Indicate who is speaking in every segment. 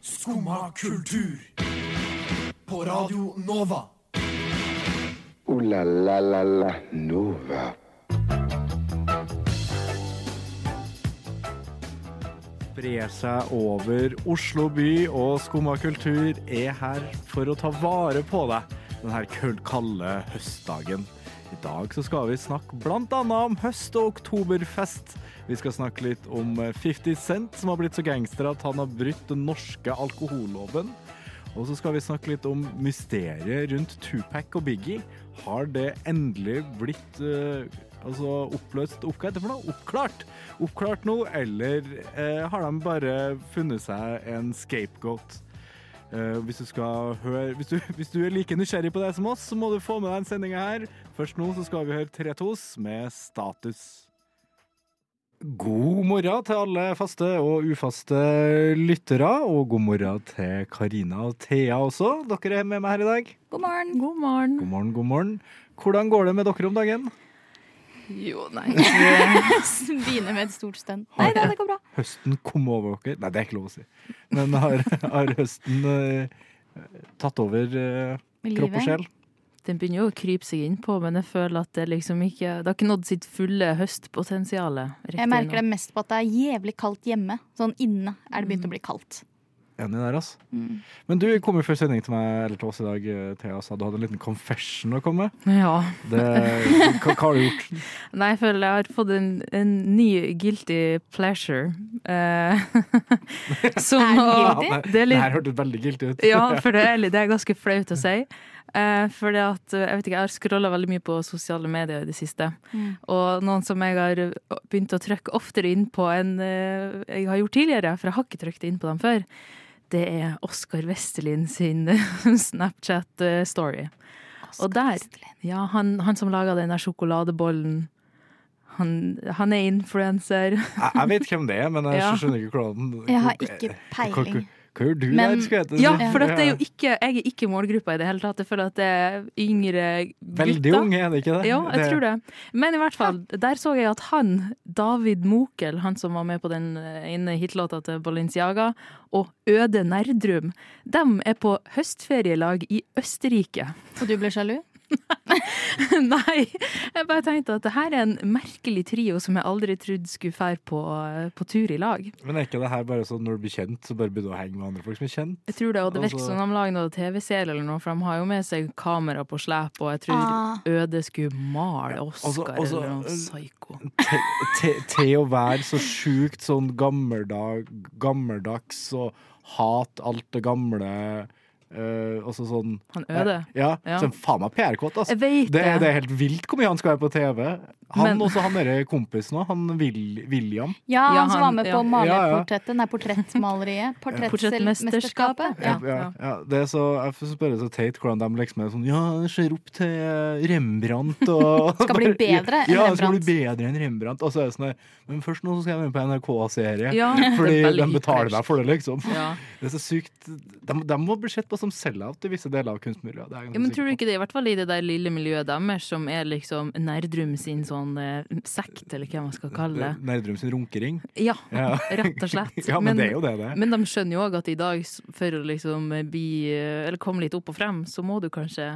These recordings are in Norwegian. Speaker 1: Skumma kultur. På Radio Nova.
Speaker 2: Ooh la la la la Nova.
Speaker 3: sprer seg over Oslo by, og Skumma kultur er her for å ta vare på deg denne køl- kalde høstdagen. I dag så skal vi snakke bl.a. om høst- og oktoberfest. Vi skal snakke litt om 50 Cent, som har blitt så gangster at han har brutt den norske alkoholloven. Og så skal vi snakke litt om mysteriet rundt Tupac og Biggie. Har det endelig blitt eh, altså oppløst Hva heter det for noe? Oppklart? Oppklart nå, eller eh, har de bare funnet seg en scapegoat? Eh, hvis, du skal høre, hvis, du, hvis du er like nysgjerrig på det som oss, så må du få med deg en sending her. Først nå så skal vi høre 3-2s med status. God morgen til alle faste og ufaste lyttere, og god morgen til Karina og Thea også. Dere er med meg her i dag.
Speaker 4: God morgen.
Speaker 5: God morgen.
Speaker 3: God morgen, god morgen. Hvordan går det med dere om dagen?
Speaker 5: Jo, nei. Begynner med et stort stunt. Nei da, det går bra.
Speaker 3: Høsten kom over dere? Nei, det er ikke lov å si. Men har, har høsten eh, tatt over eh,
Speaker 5: Med
Speaker 3: kropp og
Speaker 5: livet.
Speaker 3: sjel?
Speaker 5: Den begynner jo å krype seg innpå, men jeg føler at det liksom ikke Det har ikke nådd sitt fulle høstpotensial.
Speaker 4: Jeg merker det mest på at det er jævlig kaldt hjemme. Sånn inne er det begynt
Speaker 5: Mm.
Speaker 4: å bli kaldt.
Speaker 3: Enig der, altså. Men du kom jo før sending til meg eller til oss i dag, eh, Thea, og sa du hadde en liten confession å komme med.
Speaker 5: Ja.
Speaker 3: Det, hva, hva har du gjort?
Speaker 5: Nei, jeg føler jeg har fått en, en ny guilty pleasure. Eh, som
Speaker 4: Er den
Speaker 5: å-
Speaker 4: guilty?
Speaker 3: Nei,
Speaker 5: Det er
Speaker 3: det
Speaker 5: litt
Speaker 3: her hørtes veldig guilty ut.
Speaker 5: Ja, for det er, litt- det er ganske flaut å si. Eh, for det at, eh, jeg vet ikke, jeg har scrolla veldig mye på sosiale medier i det siste. Og noen som jeg har eh, begynt å trykke oftere inn på enn eh, jeg har gjort tidligere, for jeg har ikke trykt inn på dem før, det er Oskar Vestelin sin Snapchat-story. Og der Ja, han, han som laga den der sjokoladebollen. Han, han er influenser.
Speaker 3: Jeg, jeg vet hvem det er, men jeg
Speaker 5: Ja.
Speaker 3: skjønner ikke hvordan
Speaker 4: Jeg har ikke
Speaker 3: Hva, hva,
Speaker 4: peiling.
Speaker 3: hva gjør du
Speaker 4: Men-
Speaker 3: der? Skulle jeg til å
Speaker 5: Ja,
Speaker 3: si?
Speaker 5: for dette er jo ikke, jeg er ikke målgruppa i det hele tatt. Jeg føler at det er yngre gutter.
Speaker 3: Veldig unge, er det ikke det?
Speaker 5: Ja, jeg tror det. Men i hvert fall, der så jeg at han, David Mokel, han som var med på den eh, ene hitlåta til Balenciaga, og Øde Nerdrum, dem er på høstferielag i Østerrike.
Speaker 4: Og du ble sjalu?
Speaker 5: Nei, jeg bare tenkte at det her er en merkelig trio som jeg aldri trodde skulle fære på, på tur i lag.
Speaker 3: Men er ikke det her bare sånn når du blir kjent, så bare begynner du å henge med andre folk som er kjent?
Speaker 5: Jeg tror det, og det virker
Speaker 3: Altså-
Speaker 5: som de lager noe TV-serie eller noe, for de har jo med seg kamera på slep, og jeg tror
Speaker 4: Ah.
Speaker 5: Øde skulle male
Speaker 3: altså-
Speaker 5: Oscar
Speaker 3: altså,
Speaker 5: eller
Speaker 3: eh,
Speaker 5: noe psyko.
Speaker 3: Til- til- Til å være så sjukt sånn gammeldag, gammeldags og hat alt det gamle eh, Altså sånn
Speaker 5: Han Øde.
Speaker 3: Ja,
Speaker 5: Ja.
Speaker 3: sånn faen meg PR-kåt, altså.
Speaker 5: Jeg vet
Speaker 3: Det, er- det
Speaker 5: det.
Speaker 3: er helt vilt hvor mye han skal være på TV. Han
Speaker 5: Men-
Speaker 3: også han derre kompisen òg, han Will, William.
Speaker 4: Ja,
Speaker 5: Ja,
Speaker 4: han som var
Speaker 5: han-
Speaker 4: med
Speaker 5: ja.
Speaker 4: på malerportrettet. Nei, portrettmaleriet. Portrettmesterskapet.
Speaker 5: Portrettmesterskapet.
Speaker 4: Ja.
Speaker 3: Ja, ja, ja. Det er så, jeg synes bare det er så teit hvordan de liksom er sånn Ja, jeg ser opp til eh, Rembrandt og
Speaker 4: Skal bli bedre enn
Speaker 3: ja, jeg skal
Speaker 4: Rembrandt.
Speaker 3: bli bedre enn Rembrandt. Og så er det sånn der, Men først nå så skal jeg være med på NRK-serie.
Speaker 5: Ja, det er
Speaker 3: Fordi de
Speaker 5: veldig
Speaker 3: betaler
Speaker 5: hyperst.
Speaker 3: meg for det, liksom.
Speaker 5: Ja.
Speaker 3: Det er så sykt. De, de må bli sett på som sell-out i visse deler av kunstmiljøet. Det er jeg
Speaker 5: Ja, men
Speaker 3: ganske
Speaker 5: tror du
Speaker 3: sikker på.
Speaker 5: ikke det, i hvert fall i det der lille miljøet deres, som er liksom Nerdrum sin sånn eh, sekt, eller hva man skal kalle det.
Speaker 3: Nerdrum sin runkering.
Speaker 5: Ja,
Speaker 3: Ja.
Speaker 5: rett og slett.
Speaker 3: Ja, men, det er jo det det er.
Speaker 5: men de skjønner jo òg at i dag, s- for å liksom eh, bli eh, Eller komme litt opp og frem, så må du kanskje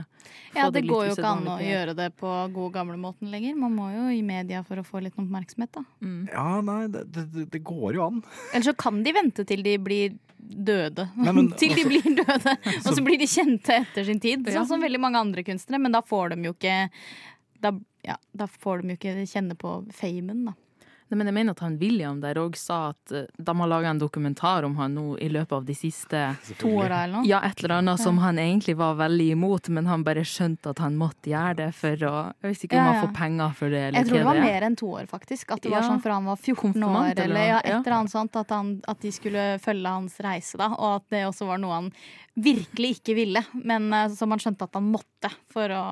Speaker 5: få
Speaker 4: ja, det
Speaker 5: litt
Speaker 4: går jo ikke an å
Speaker 5: usedvanlig på.
Speaker 4: gjøre det på god gamlemåten lenger. Man må jo i media for å få litt oppmerksomhet, da.
Speaker 5: Mm.
Speaker 3: Ja, nei, det, det, det går jo an.
Speaker 4: Eller så kan de vente til de blir døde.
Speaker 3: Nei, men altså-
Speaker 4: til de blir døde, og så blir de kjente etter sin tid.
Speaker 5: Ja.
Speaker 4: Sånn som veldig mange andre kunstnere, men da får de jo ikke da, ja, da får de jo ikke kjenne på famen, da.
Speaker 5: Nei, men jeg mener at han William der òg sa at eh, de har laga en dokumentar om han nå i løpet av de siste
Speaker 4: To åra eller noe.
Speaker 5: Ja, et eller annet som han egentlig var veldig imot, men han bare skjønte at han måtte gjøre det for å Jeg visste ikke om
Speaker 4: Ja,
Speaker 5: han
Speaker 4: ja.
Speaker 5: får penger for det. Eller
Speaker 4: Jeg tror det
Speaker 5: hva
Speaker 4: var
Speaker 5: er.
Speaker 4: mer enn to år, faktisk. At det var
Speaker 5: Ja.
Speaker 4: sånn fra han var 14
Speaker 5: Konfirmant,
Speaker 4: år,
Speaker 5: eller
Speaker 4: eller
Speaker 5: noe.
Speaker 4: ja, et
Speaker 5: Ja.
Speaker 4: eller annet sånt. At, han, at de skulle følge hans reise, da. Og at det også var noe han virkelig ikke ville, men eh, som han skjønte at han måtte for å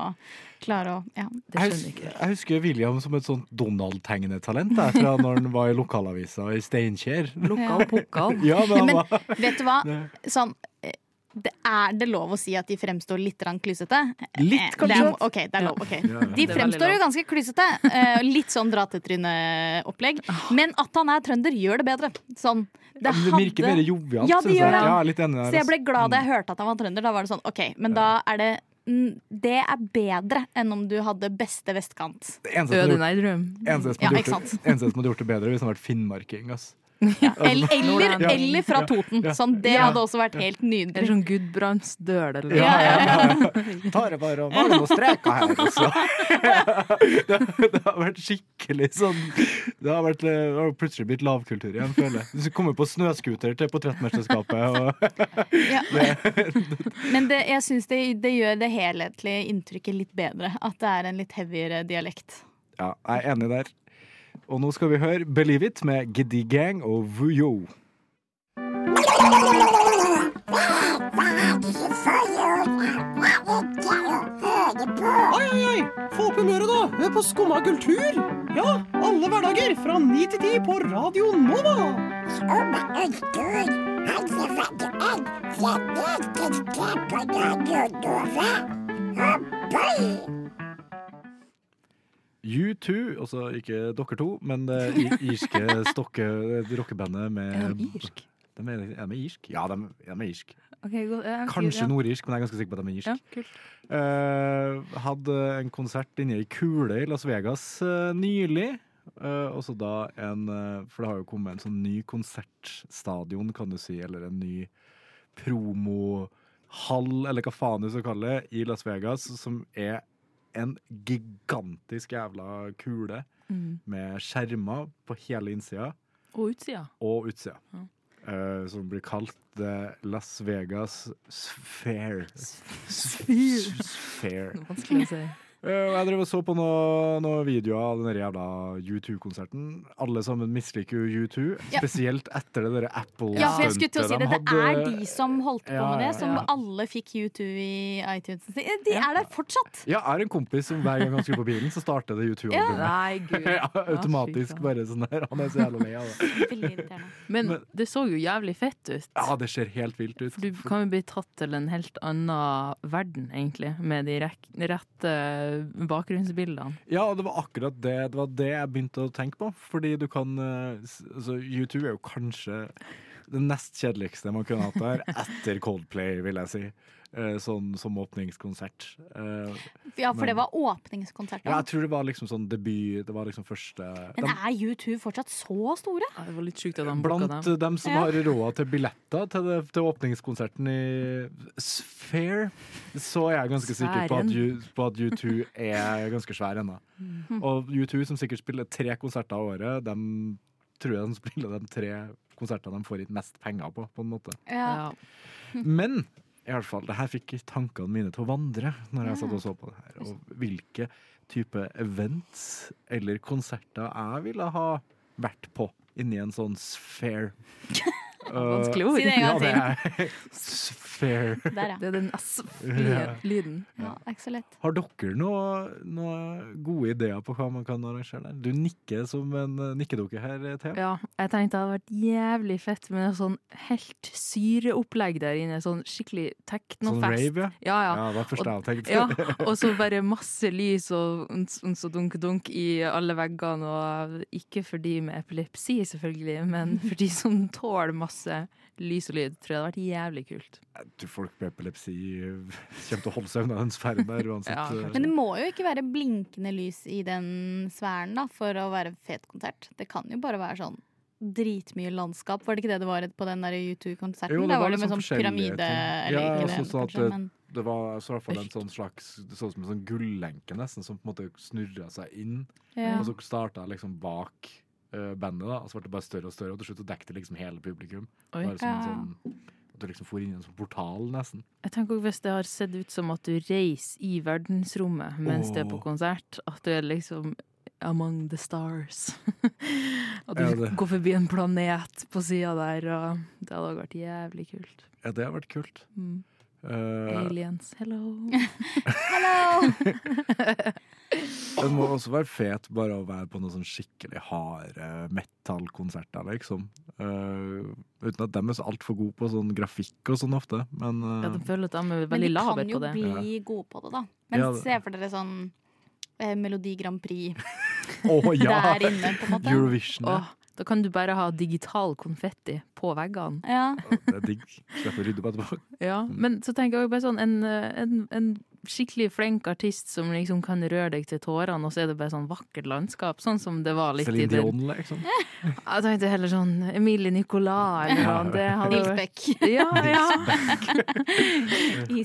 Speaker 4: klare å ja.
Speaker 5: Det
Speaker 3: Jeg
Speaker 5: skjønner jeg
Speaker 3: husker,
Speaker 5: ikke.
Speaker 3: jeg husker William som et sånt Donald-tegnetalent der, fra når han var i lokalavisa i Steinkjer.
Speaker 5: Lukka og pukka.
Speaker 3: Ja, men han
Speaker 4: Men
Speaker 3: var
Speaker 4: vet du hva? Sånn, eh, det er det lov å si at de fremstår litt grann klysete?
Speaker 3: Litt,
Speaker 4: Eh,
Speaker 3: kanskje?
Speaker 4: det er- OK, det er lov. ok.
Speaker 3: Ja, ja.
Speaker 4: De
Speaker 5: Det er veldig
Speaker 4: fremstår jo ganske klysete. eh, Litt sånn dra-til-trynet-opplegg. Men at han er trønder, gjør det bedre. Sånn. Det
Speaker 3: Ah. Ja, men det virker mer
Speaker 4: hadde-
Speaker 3: jovialt.
Speaker 4: Ja, det
Speaker 3: synes jeg.
Speaker 4: gjør det.
Speaker 3: Ja, jeg er litt enig der,
Speaker 4: Så jeg
Speaker 3: altså.
Speaker 4: ble glad da jeg hørte at han var trønder. Da var det sånn, OK, men da er det mm, Det er bedre enn om du hadde beste vestkant.
Speaker 3: Det eneste som hadde
Speaker 5: Øde
Speaker 3: gjort-
Speaker 5: Neidrum.
Speaker 3: eneste som
Speaker 4: Ja,
Speaker 3: hadde
Speaker 4: ikke
Speaker 3: gjort det-
Speaker 4: sant.
Speaker 3: eneste som hadde gjort det bedre, hvis han hadde vært finnmarking. ass.
Speaker 4: Eller, eller,
Speaker 5: Nordlending.
Speaker 4: eller fra Toten. Sånn, det
Speaker 5: Ja.
Speaker 4: hadde også vært helt
Speaker 5: Eller
Speaker 4: nydelig.
Speaker 5: sånn Gudbrandsdøl eller noe.
Speaker 3: Ja, ja, ja. Tar jeg bare og maler noen streker her, og så det, det har vært skikkelig sånn Det har, vært, eh, det har plutselig blitt lavkultur igjen, føler jeg. Du kommer på snøscooter til portrettmesterskapet og
Speaker 4: Ja. Men det, jeg syns det, det gjør det helhetlige inntrykket litt bedre. At det er en litt heavyere dialekt.
Speaker 3: Ja, jeg er enig der. Og nå skal vi høre Believe It med Giddy Gang og Vuyo.
Speaker 6: Oi, oi, oi! Få opp humøret, da! Hør på Skumma kultur! Ja, alle hverdager fra ni til ti på Radio Nova!
Speaker 3: U2, altså ikke dere to, men det i- irske stokke eh, rockebandet med
Speaker 5: Er de irsk?
Speaker 3: De er, er de irsk? Ja, de, de er irsk.
Speaker 5: Ok, godt. Ja,
Speaker 3: Kanskje
Speaker 5: ja.
Speaker 3: nordirsk, men jeg er ganske sikker på at de er irsk.
Speaker 5: Ja, kult.
Speaker 3: Eh, hadde en konsert inne i Kule i Las Vegas eh, nylig. Eh, også da en eh, For det har jo kommet en sånn ny konsertstadion, kan du si, eller en ny promohall, eller hva faen du skal kalle det, i Las Vegas, som er en gigantisk jævla kule
Speaker 5: Mm.
Speaker 3: med skjermer på hele innsida
Speaker 5: Og utsida.
Speaker 3: og utsida.
Speaker 5: Ja.
Speaker 3: Eh, som blir kalt eh, Las Vegas Sphere.
Speaker 5: Sphere.
Speaker 3: Sphere.
Speaker 5: Vanskelig å si.
Speaker 3: Eh, og Jeg drev og så på noen noe videoer av den der jævla U2-konserten. Alle sammen misliker jo U2,
Speaker 4: Ja.
Speaker 3: spesielt etter det der Apple-stuntet.
Speaker 4: Ja, for jeg skulle til å si det. Det er de som holdt på
Speaker 3: Ja,
Speaker 4: med
Speaker 3: ja,
Speaker 4: det, som
Speaker 5: ja.
Speaker 4: alle fikk U2 i iTunes. De de er der fortsatt!
Speaker 3: Ja, jeg har en kompis som hver gang han skulle på bilen, så startet det U2-albumet.
Speaker 5: Nei, gud.
Speaker 3: Ja, automatisk
Speaker 5: fy faen.
Speaker 3: bare sånn der. Han er så jævla lei av det.
Speaker 4: Veldig irriterende.
Speaker 5: Men
Speaker 3: Men-
Speaker 5: det så jo jævlig fett ut.
Speaker 3: Ja, det ser helt vilt ut.
Speaker 5: Du kan jo bli tatt til en helt annen verden, egentlig, med de rek rette bakgrunnsbildene.
Speaker 3: Ja, og det var akkurat det, det, var det jeg begynte å tenke på. Fordi du kan eh, s- altså, U2 er jo kanskje det nest kjedeligste man kunne hatt der, etter Coldplay, vil jeg si. Eh, Sånn som åpningskonsert. Eh,
Speaker 4: Ja, for det
Speaker 3: Men-
Speaker 4: var åpningskonserten.
Speaker 3: Ja, jeg tror det var liksom sånn debut Det var liksom første
Speaker 4: Men
Speaker 3: dem-
Speaker 4: er U2 fortsatt så store?
Speaker 5: Ja, det var litt sjukt at han booka
Speaker 3: Blant
Speaker 5: dem.
Speaker 3: dem som
Speaker 4: Ja.
Speaker 3: har råd til billetter til, det, til åpningskonserten i Sphere, så er jeg ganske sikker på at,
Speaker 5: Sfæren.
Speaker 3: U, på at U2 er ganske svær ennå. Og U2, som sikkert spiller tre konserter av året, dem tror jeg de spiller de tre konsertene de får gitt mest penger på, på en måte.
Speaker 5: Ja.
Speaker 3: Men i alle fall, det her fikk tankene mine til å vandre når jeg satt og så på det her. Og hvilke type events eller konserter jeg ville ha vært på inni en sånn sphere.
Speaker 5: Vanskelig
Speaker 4: Si det en
Speaker 5: ord.
Speaker 3: Ja,
Speaker 4: gang
Speaker 3: det
Speaker 4: til.
Speaker 3: er sphere.
Speaker 4: Der, ja.
Speaker 5: Det er den S-lyden.
Speaker 4: ja. Det er ikke så lett.
Speaker 3: Har dere noen noe gode ideer på hva man kan arrangere der? Du nikker som en eh, nikkedukke her, Thea.
Speaker 5: Ja, jeg tenkte det hadde vært jævlig fett med en sånn helt syreopplegg der inne. Sånn skikkelig
Speaker 3: Sånn
Speaker 5: teknofest.
Speaker 3: rave, ja.
Speaker 5: Ja,
Speaker 3: Ja,
Speaker 5: ja.
Speaker 3: det var første jeg tenkte.
Speaker 5: Ja, og så bare masse lys og uns, uns og dunk-dunk i alle veggene. Og ikke for de med epilepsi, selvfølgelig, men for de som tåler masse lys og lyd. Tror jeg det hadde vært jævlig kult.
Speaker 3: Du, folk med epilepsi eh, kommer til å holde seg unna den sfæren der uansett.
Speaker 5: Ja,
Speaker 3: eh,
Speaker 5: kanskje.
Speaker 4: Men det må jo ikke være blinkende lys i den sfæren da, for å være fet konsert. Det kan jo bare være sånn dritmye landskap. Var det ikke det det var på den der U2-konserten?
Speaker 3: Jo, det
Speaker 4: Da
Speaker 3: var
Speaker 4: var det
Speaker 3: litt
Speaker 4: med
Speaker 3: sånn
Speaker 4: sånn
Speaker 3: forskjellige ting.
Speaker 4: pyramide eller
Speaker 3: Ja,
Speaker 4: ikke
Speaker 3: og
Speaker 4: det,
Speaker 3: så sa at
Speaker 4: kanskje,
Speaker 3: det-
Speaker 4: men
Speaker 3: Det var så i hvert fall en sånn slags Det så ut som en sånn gullenke nesten Som på en måte snurra seg inn
Speaker 4: ja.
Speaker 3: Og så starta jeg liksom bak eh, bandet da Og så ble det bare større og større Og til slutt så dekte det liksom hele publikum
Speaker 5: Oi.
Speaker 3: Bare som en
Speaker 4: Ja.
Speaker 3: sånn At du liksom for inn i en sånn portal nesten
Speaker 5: Jeg tenker også Hvis det har sett ut som at du reiser i verdensrommet mens du er på
Speaker 3: Åh.
Speaker 5: konsert, at du er liksom among the stars. at
Speaker 3: Ja,
Speaker 5: du
Speaker 3: det-
Speaker 5: går forbi en planet på sida der, og det hadde også vært jævlig kult.
Speaker 3: Ja, det har vært kult
Speaker 5: Mm.
Speaker 3: Eh,
Speaker 5: Aliens, hello.
Speaker 4: Hello!
Speaker 3: Den må også være fet bare å være på noen sånn skikkelig harde metallkonserter, liksom. Eh, uten at de er så altfor gode på sånn grafikk og sånn ofte, men eh,
Speaker 5: Ja, de føler at de er
Speaker 4: Men de
Speaker 5: veldig laber
Speaker 4: kan jo
Speaker 5: på det.
Speaker 4: bli gode på det, da. Men
Speaker 3: Ja, det-
Speaker 4: se for dere sånn eh, Melodi Grand Prix
Speaker 3: Å ja!
Speaker 4: der inne, på en måte.
Speaker 3: Eurovision. ja.
Speaker 5: Åh, da kan du bare ha digital konfetti på veggene.
Speaker 4: Ja.
Speaker 3: Det er digg. Slipper å rydde på etterpå.
Speaker 5: Ja, men så tenker jeg også bare sånn en, eh, en, en skikkelig flink artist som liksom kan røre deg til tårene, og så er det bare sånn vakkert landskap, sånn som det var litt i
Speaker 3: Celine
Speaker 5: den.
Speaker 3: Dion, liksom.
Speaker 5: Jeg tenkte heller sånn Emilie Nicolas eller
Speaker 3: Ja.
Speaker 5: noe. Det hadde
Speaker 4: Nils
Speaker 5: vært
Speaker 4: Beck.
Speaker 5: ja, ja.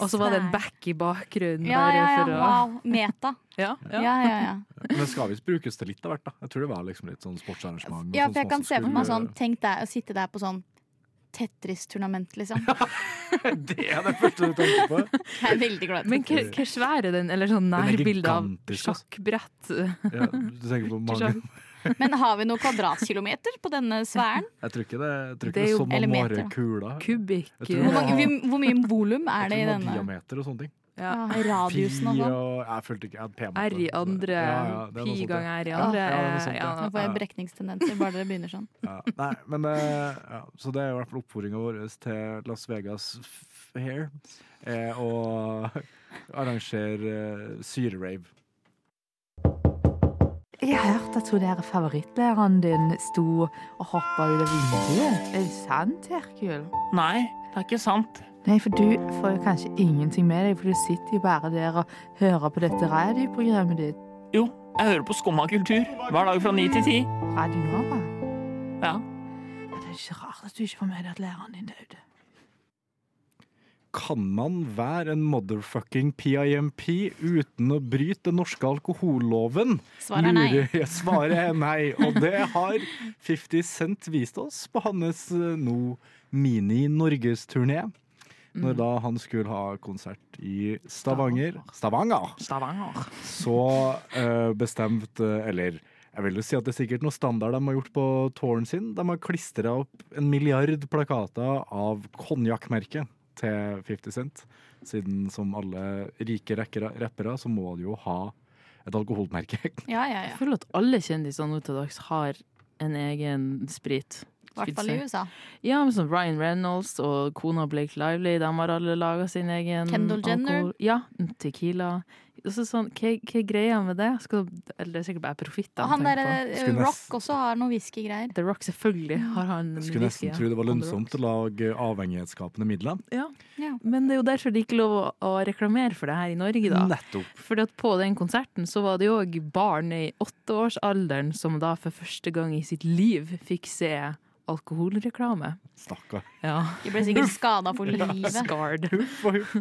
Speaker 5: Og så var det en back i bakgrunnen.
Speaker 4: Ja, ja, ja.
Speaker 5: Bare for å,
Speaker 4: Wow. Meta.
Speaker 5: ja,
Speaker 4: Ja,
Speaker 5: ja.
Speaker 4: ja, ja.
Speaker 3: Men det skal visst brukes til litt av hvert, da. Jeg tror det var liksom litt sånn sportsarrangement. og
Speaker 4: Ja,
Speaker 3: sånn
Speaker 4: for jeg
Speaker 3: som
Speaker 4: kan
Speaker 3: også
Speaker 4: se for meg sånn
Speaker 3: skulle-
Speaker 4: Tenk deg å sitte der på sånn Tetris-turnament, liksom.
Speaker 3: Det er det første du tenker på!
Speaker 4: Jeg er veldig glad i
Speaker 5: Men hva hva svær er den? Eller sånn
Speaker 3: Den er
Speaker 5: nærbilde av
Speaker 3: gigantisk, ass.
Speaker 5: sjakkbrett?
Speaker 3: Ja, du tenker på mange
Speaker 5: Skjønner.
Speaker 4: Tetris. Men har vi noen kvadratkilometer på denne sfæren?
Speaker 3: Jeg tror ikke det, jeg tror
Speaker 5: Det
Speaker 3: ikke det
Speaker 5: er
Speaker 3: er
Speaker 5: jo-
Speaker 3: sånn
Speaker 4: eller
Speaker 3: man
Speaker 4: meter,
Speaker 3: måler
Speaker 4: da.
Speaker 3: kula.
Speaker 5: Kubikk?
Speaker 3: Jeg tror
Speaker 4: Hvor,
Speaker 3: det
Speaker 5: Ja.
Speaker 3: var-
Speaker 4: mange, vi- hvor mye volum er det
Speaker 3: Jeg
Speaker 4: i
Speaker 3: tror det var
Speaker 4: denne?
Speaker 3: Diameter og sånne ting.
Speaker 4: Ja, radiusen og
Speaker 3: Pi
Speaker 4: sånn.
Speaker 3: og Jeg følte ikke jeg hadde P-måte.
Speaker 5: R i andre,
Speaker 3: Ja, ja, det er noe
Speaker 5: pi
Speaker 3: sånt,
Speaker 5: gang
Speaker 3: ja.
Speaker 5: R i
Speaker 4: Ja,
Speaker 5: andre.
Speaker 3: ja, det er noe sånt, ja.
Speaker 5: ja.
Speaker 4: Nå får jeg brekningstendenser bare dere begynner sånn.
Speaker 3: Ja. Nei, men eh, ja. Så det er i hvert fall oppfordringa vår til Las Vegas f- Hair eh, å arrangere eh, syrerave.
Speaker 7: Jeg har hørt at hun der favorittlæreren din sto og hoppa ut av vinduet. Er det sant, Herkul?
Speaker 8: Nei, det er ikke sant.
Speaker 7: Nei, for du får jo kanskje ingenting med deg, for du sitter jo bare der og hører på dette radioprogrammet ditt.
Speaker 8: Jo, jeg hører på Skumma kultur hver dag fra ni til ti.
Speaker 7: Radio Nova.
Speaker 8: Ja.
Speaker 7: Ja, Det er ikke rart at du ikke får med deg at læreren din døde.
Speaker 3: Kan man være en motherfucking PIMP uten å bryte den norske alkoholloven?
Speaker 4: Svaret er nei.
Speaker 3: Lurer- Svaret er nei. Og det har 50 Cent vist oss på hans eh, nå mini-norgesturné.
Speaker 4: Mm.
Speaker 3: Når da han skulle ha konsert i Stavanger Stavanger!
Speaker 8: Stavanger.
Speaker 3: Så eh, bestemt eh, Eller jeg vil jo si at det er sikkert noe standard de har gjort på tårnen sin. De har klistra opp en milliard plakater av konjakkmerket til 50 Cent. Siden som alle rike rekkere- rappere, så må de jo ha et alkoholmerke.
Speaker 4: Ja, ja,
Speaker 5: Jeg
Speaker 4: ja.
Speaker 5: føler at alle kjendiser nå til dags har en egen sprit.
Speaker 4: I hvert fall i USA.
Speaker 5: Ja, men sånn Ryan Reynolds og kona Blake Lively, de har alle laga sin egen
Speaker 4: Kendall Jenner.
Speaker 5: alkohol. Ja, Tequila. Altså sånn, hva, hva er greia med det? Skal, eller det er sikkert bare profitt
Speaker 4: Og
Speaker 5: de
Speaker 4: han
Speaker 5: tenker på.
Speaker 4: derre
Speaker 3: Skulle
Speaker 4: Rock
Speaker 3: nesten-
Speaker 4: også har noen whiskygreier.
Speaker 5: The Rock, selvfølgelig har han
Speaker 3: Jeg skulle nesten
Speaker 5: whisky,
Speaker 3: tro det var
Speaker 5: ja. On the
Speaker 3: lønnsomt å lage avhengighetsskapende midler.
Speaker 5: Rock. Men det er jo derfor det ikke er lov å, å reklamere for det her i Norge, da.
Speaker 3: Nettopp.
Speaker 5: Fordi at på den konserten så var det jo òg barn i åtteårsalderen som da for første gang i sitt liv fikk se alkoholreklame.
Speaker 3: Stakkar.
Speaker 5: Ja.
Speaker 4: De ble sikkert skada for livet.
Speaker 5: Scarred.
Speaker 3: Huff og huff.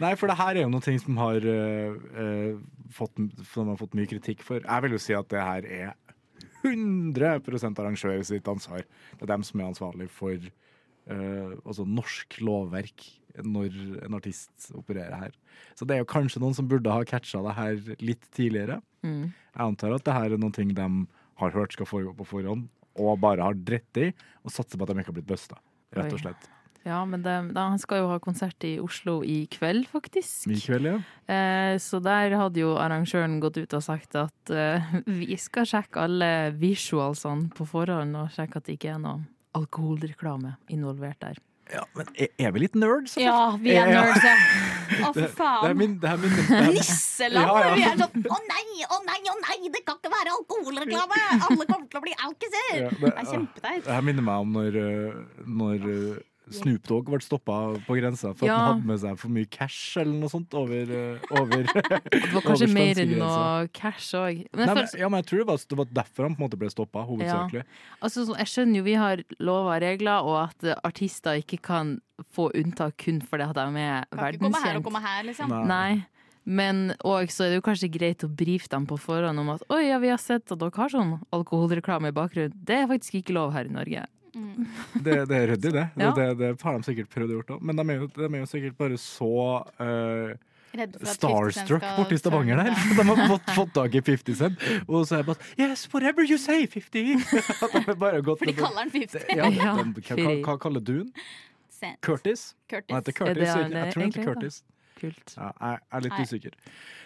Speaker 3: Nei, for det her er jo noe ting som har, eh, eh, fått, som har fått mye kritikk for. Jeg vil jo si at det her er 100 arrangører sitt ansvar. Det er dem som er ansvarlig for eh, altså norsk lovverk når en artist opererer her. Så det er jo kanskje noen som burde ha catcha det her litt tidligere.
Speaker 5: Mm.
Speaker 3: Jeg antar at det her er noen ting de har hørt skal foregå på forhånd, og bare har dritt i, og satser på at de ikke har blitt busta, rett
Speaker 5: Oi.
Speaker 3: og slett.
Speaker 5: Ja, men det, da, han skal jo ha konsert i Oslo i kveld, faktisk.
Speaker 3: I kveld, ja.
Speaker 5: Eh, så der hadde jo arrangøren gått ut og sagt at eh, vi skal sjekke alle visualsene på forhånd, og sjekke at det ikke er noe alkoholreklame involvert der.
Speaker 3: ja men er, er vi litt nerds? eller?
Speaker 4: Ja, vi er
Speaker 3: Ja.
Speaker 4: nerds, ja. Å, for
Speaker 3: Det er
Speaker 4: faen.
Speaker 3: min, det er min det er,
Speaker 4: Nisseland!
Speaker 3: Ja, ja.
Speaker 4: Vi er sånn Å nei, å nei, å nei, det kan ikke være alkoholreklame! Alle kommer til å bli alkiser!
Speaker 3: Ja, det-
Speaker 4: det er kjempeteit.
Speaker 3: det her minner meg om når, øh, når øh, Snoop Dogg ble stoppa på grensa for at
Speaker 5: Ja.
Speaker 3: han hadde med seg for mye cash eller noe sånt over, øh, over
Speaker 5: Det var kanskje
Speaker 3: Over
Speaker 5: mer enn
Speaker 3: svenskegrensa.
Speaker 5: noe cash òg.
Speaker 3: altså. Nei, men, ja, men jeg tror det var, det var derfor han på en måte ble stoppa, hovedsakelig.
Speaker 5: Altså, sånn, jeg skjønner jo vi har lover og regler, og at eh, artister ikke kan få unntak kun fordi at de
Speaker 4: Kan ikke komme her
Speaker 5: er
Speaker 4: og
Speaker 5: verdenskjent.
Speaker 4: komme her, liksom.
Speaker 3: Nei.
Speaker 5: Nei. Men òg så er det jo kanskje greit å brife dem på forhånd om at oi, ja, vi har sett at dere har sånn alkoholreklame i bakgrunnen. Det er faktisk ikke lov her i Norge.
Speaker 3: Det, det er ryddig, det.
Speaker 5: Ja.
Speaker 3: det. Det har de sikkert prøvd å gjøre, men de er, jo, de er jo sikkert bare så øh,
Speaker 4: Redd for at
Speaker 3: starstruck
Speaker 4: 50 Cent skal
Speaker 3: borti Stavanger der.
Speaker 4: turne.
Speaker 3: De har fått, fått tak i 50 Cent, og så er det bare Yes, whatever you say, 50! De har bare gått
Speaker 4: For de
Speaker 3: og-
Speaker 4: kaller den 50
Speaker 3: ja,
Speaker 5: Ja,
Speaker 3: de, hva, hva- hva kaller du den?
Speaker 4: Cent.
Speaker 3: Curtis?
Speaker 4: Curtis.
Speaker 3: Han heter
Speaker 5: Er
Speaker 3: Curtis.
Speaker 5: det
Speaker 3: ikke-
Speaker 5: han
Speaker 3: jeg tror han
Speaker 5: egentlig
Speaker 3: heter Curtis.
Speaker 5: Kult.
Speaker 3: Ja, jeg er litt
Speaker 4: Nei.
Speaker 3: usikker.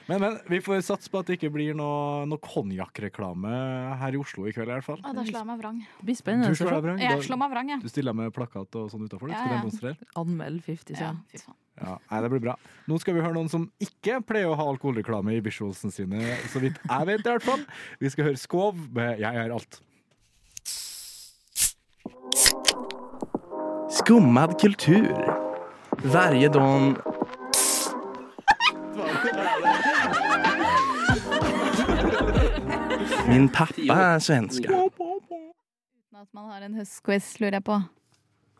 Speaker 3: Men, men vi får satse på at det ikke blir noe, noe konjakkreklame her i Oslo i kveld, i hvert fall.
Speaker 4: Å, da slår jeg meg vrang.
Speaker 5: Det blir
Speaker 3: Du,
Speaker 5: spennende. å se.
Speaker 3: slår deg vrang. Da-
Speaker 4: Jeg slår meg vrang, jeg.
Speaker 3: du stiller med plakat og sånn utafor?
Speaker 4: Ja,
Speaker 3: Skal
Speaker 4: ja.
Speaker 3: demonstrere?
Speaker 5: Anmeld
Speaker 4: Ja,
Speaker 5: 50 Cent.
Speaker 4: fy faen.
Speaker 3: Ja, nei, det blir bra. Nå skal vi høre noen som ikke pleier å ha alkoholreklame i visualsene sine, så vidt jeg vet i hvert fall. Vi skal høre Skov med 'Jeg er alt'.
Speaker 9: Skummad kultur. Varje dag... Min pappa är svenska.
Speaker 4: Uten At man har en høstquiz, lurer jeg på.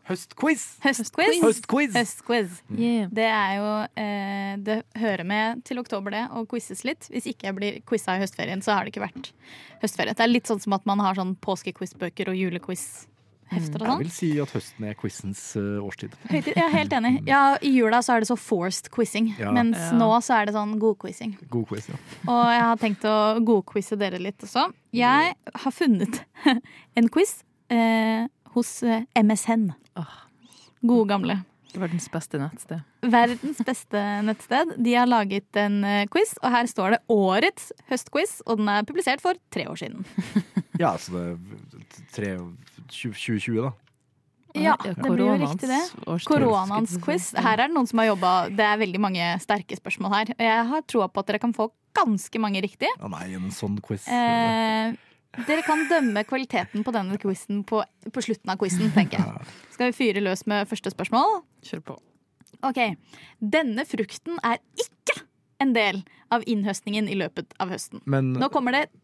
Speaker 3: Høstquiz!
Speaker 4: Høstquiz?
Speaker 3: Høstquiz!
Speaker 4: Høstquiz.
Speaker 5: Yeah.
Speaker 4: Det er jo eh, Det hører med til oktober, det, å quizes litt. Hvis ikke jeg blir quiza i høstferien, så har det ikke vært høstferie. Det er litt sånn som at man har sånn påskequizbøker og julequizhefter og
Speaker 3: Mm. Jeg
Speaker 4: sånn.
Speaker 3: vil si at høsten er quizens eh, årstid.
Speaker 4: Høytid, jeg er helt enig. Ja, I jula så er det så forced quizing,
Speaker 3: Ja.
Speaker 4: mens
Speaker 5: Ja.
Speaker 4: nå så er det sånn godquizing.
Speaker 3: God quiz, ja.
Speaker 4: Og jeg har tenkt å godquize dere litt også. Jeg har funnet en quiz eh, hos eh, MSN.
Speaker 5: Åh.
Speaker 4: Gode gamle.
Speaker 5: Verdens beste nettsted.
Speaker 4: Verdens beste nettsted. De har laget en eh, quiz, og her står det årets høstquiz, og den er publisert for tre år siden.
Speaker 3: Ja, så det er tre, 2020, da.
Speaker 4: Ja, det blir jo riktig det. Koronaens quiz. Her er det noen som har jobba Det er veldig mange sterke spørsmål her. Og jeg har troa på at dere kan få ganske mange riktige.
Speaker 3: Å nei, en sånn quiz.
Speaker 4: Eh, dere kan dømme kvaliteten på denne quizen på, på slutten av quizen, tenker jeg. Skal vi fyre løs med første spørsmål?
Speaker 5: Kjør på.
Speaker 4: Ok. Denne frukten er ikke en del av innhøstningen i løpet av høsten.
Speaker 3: Men,
Speaker 4: Nå kommer det et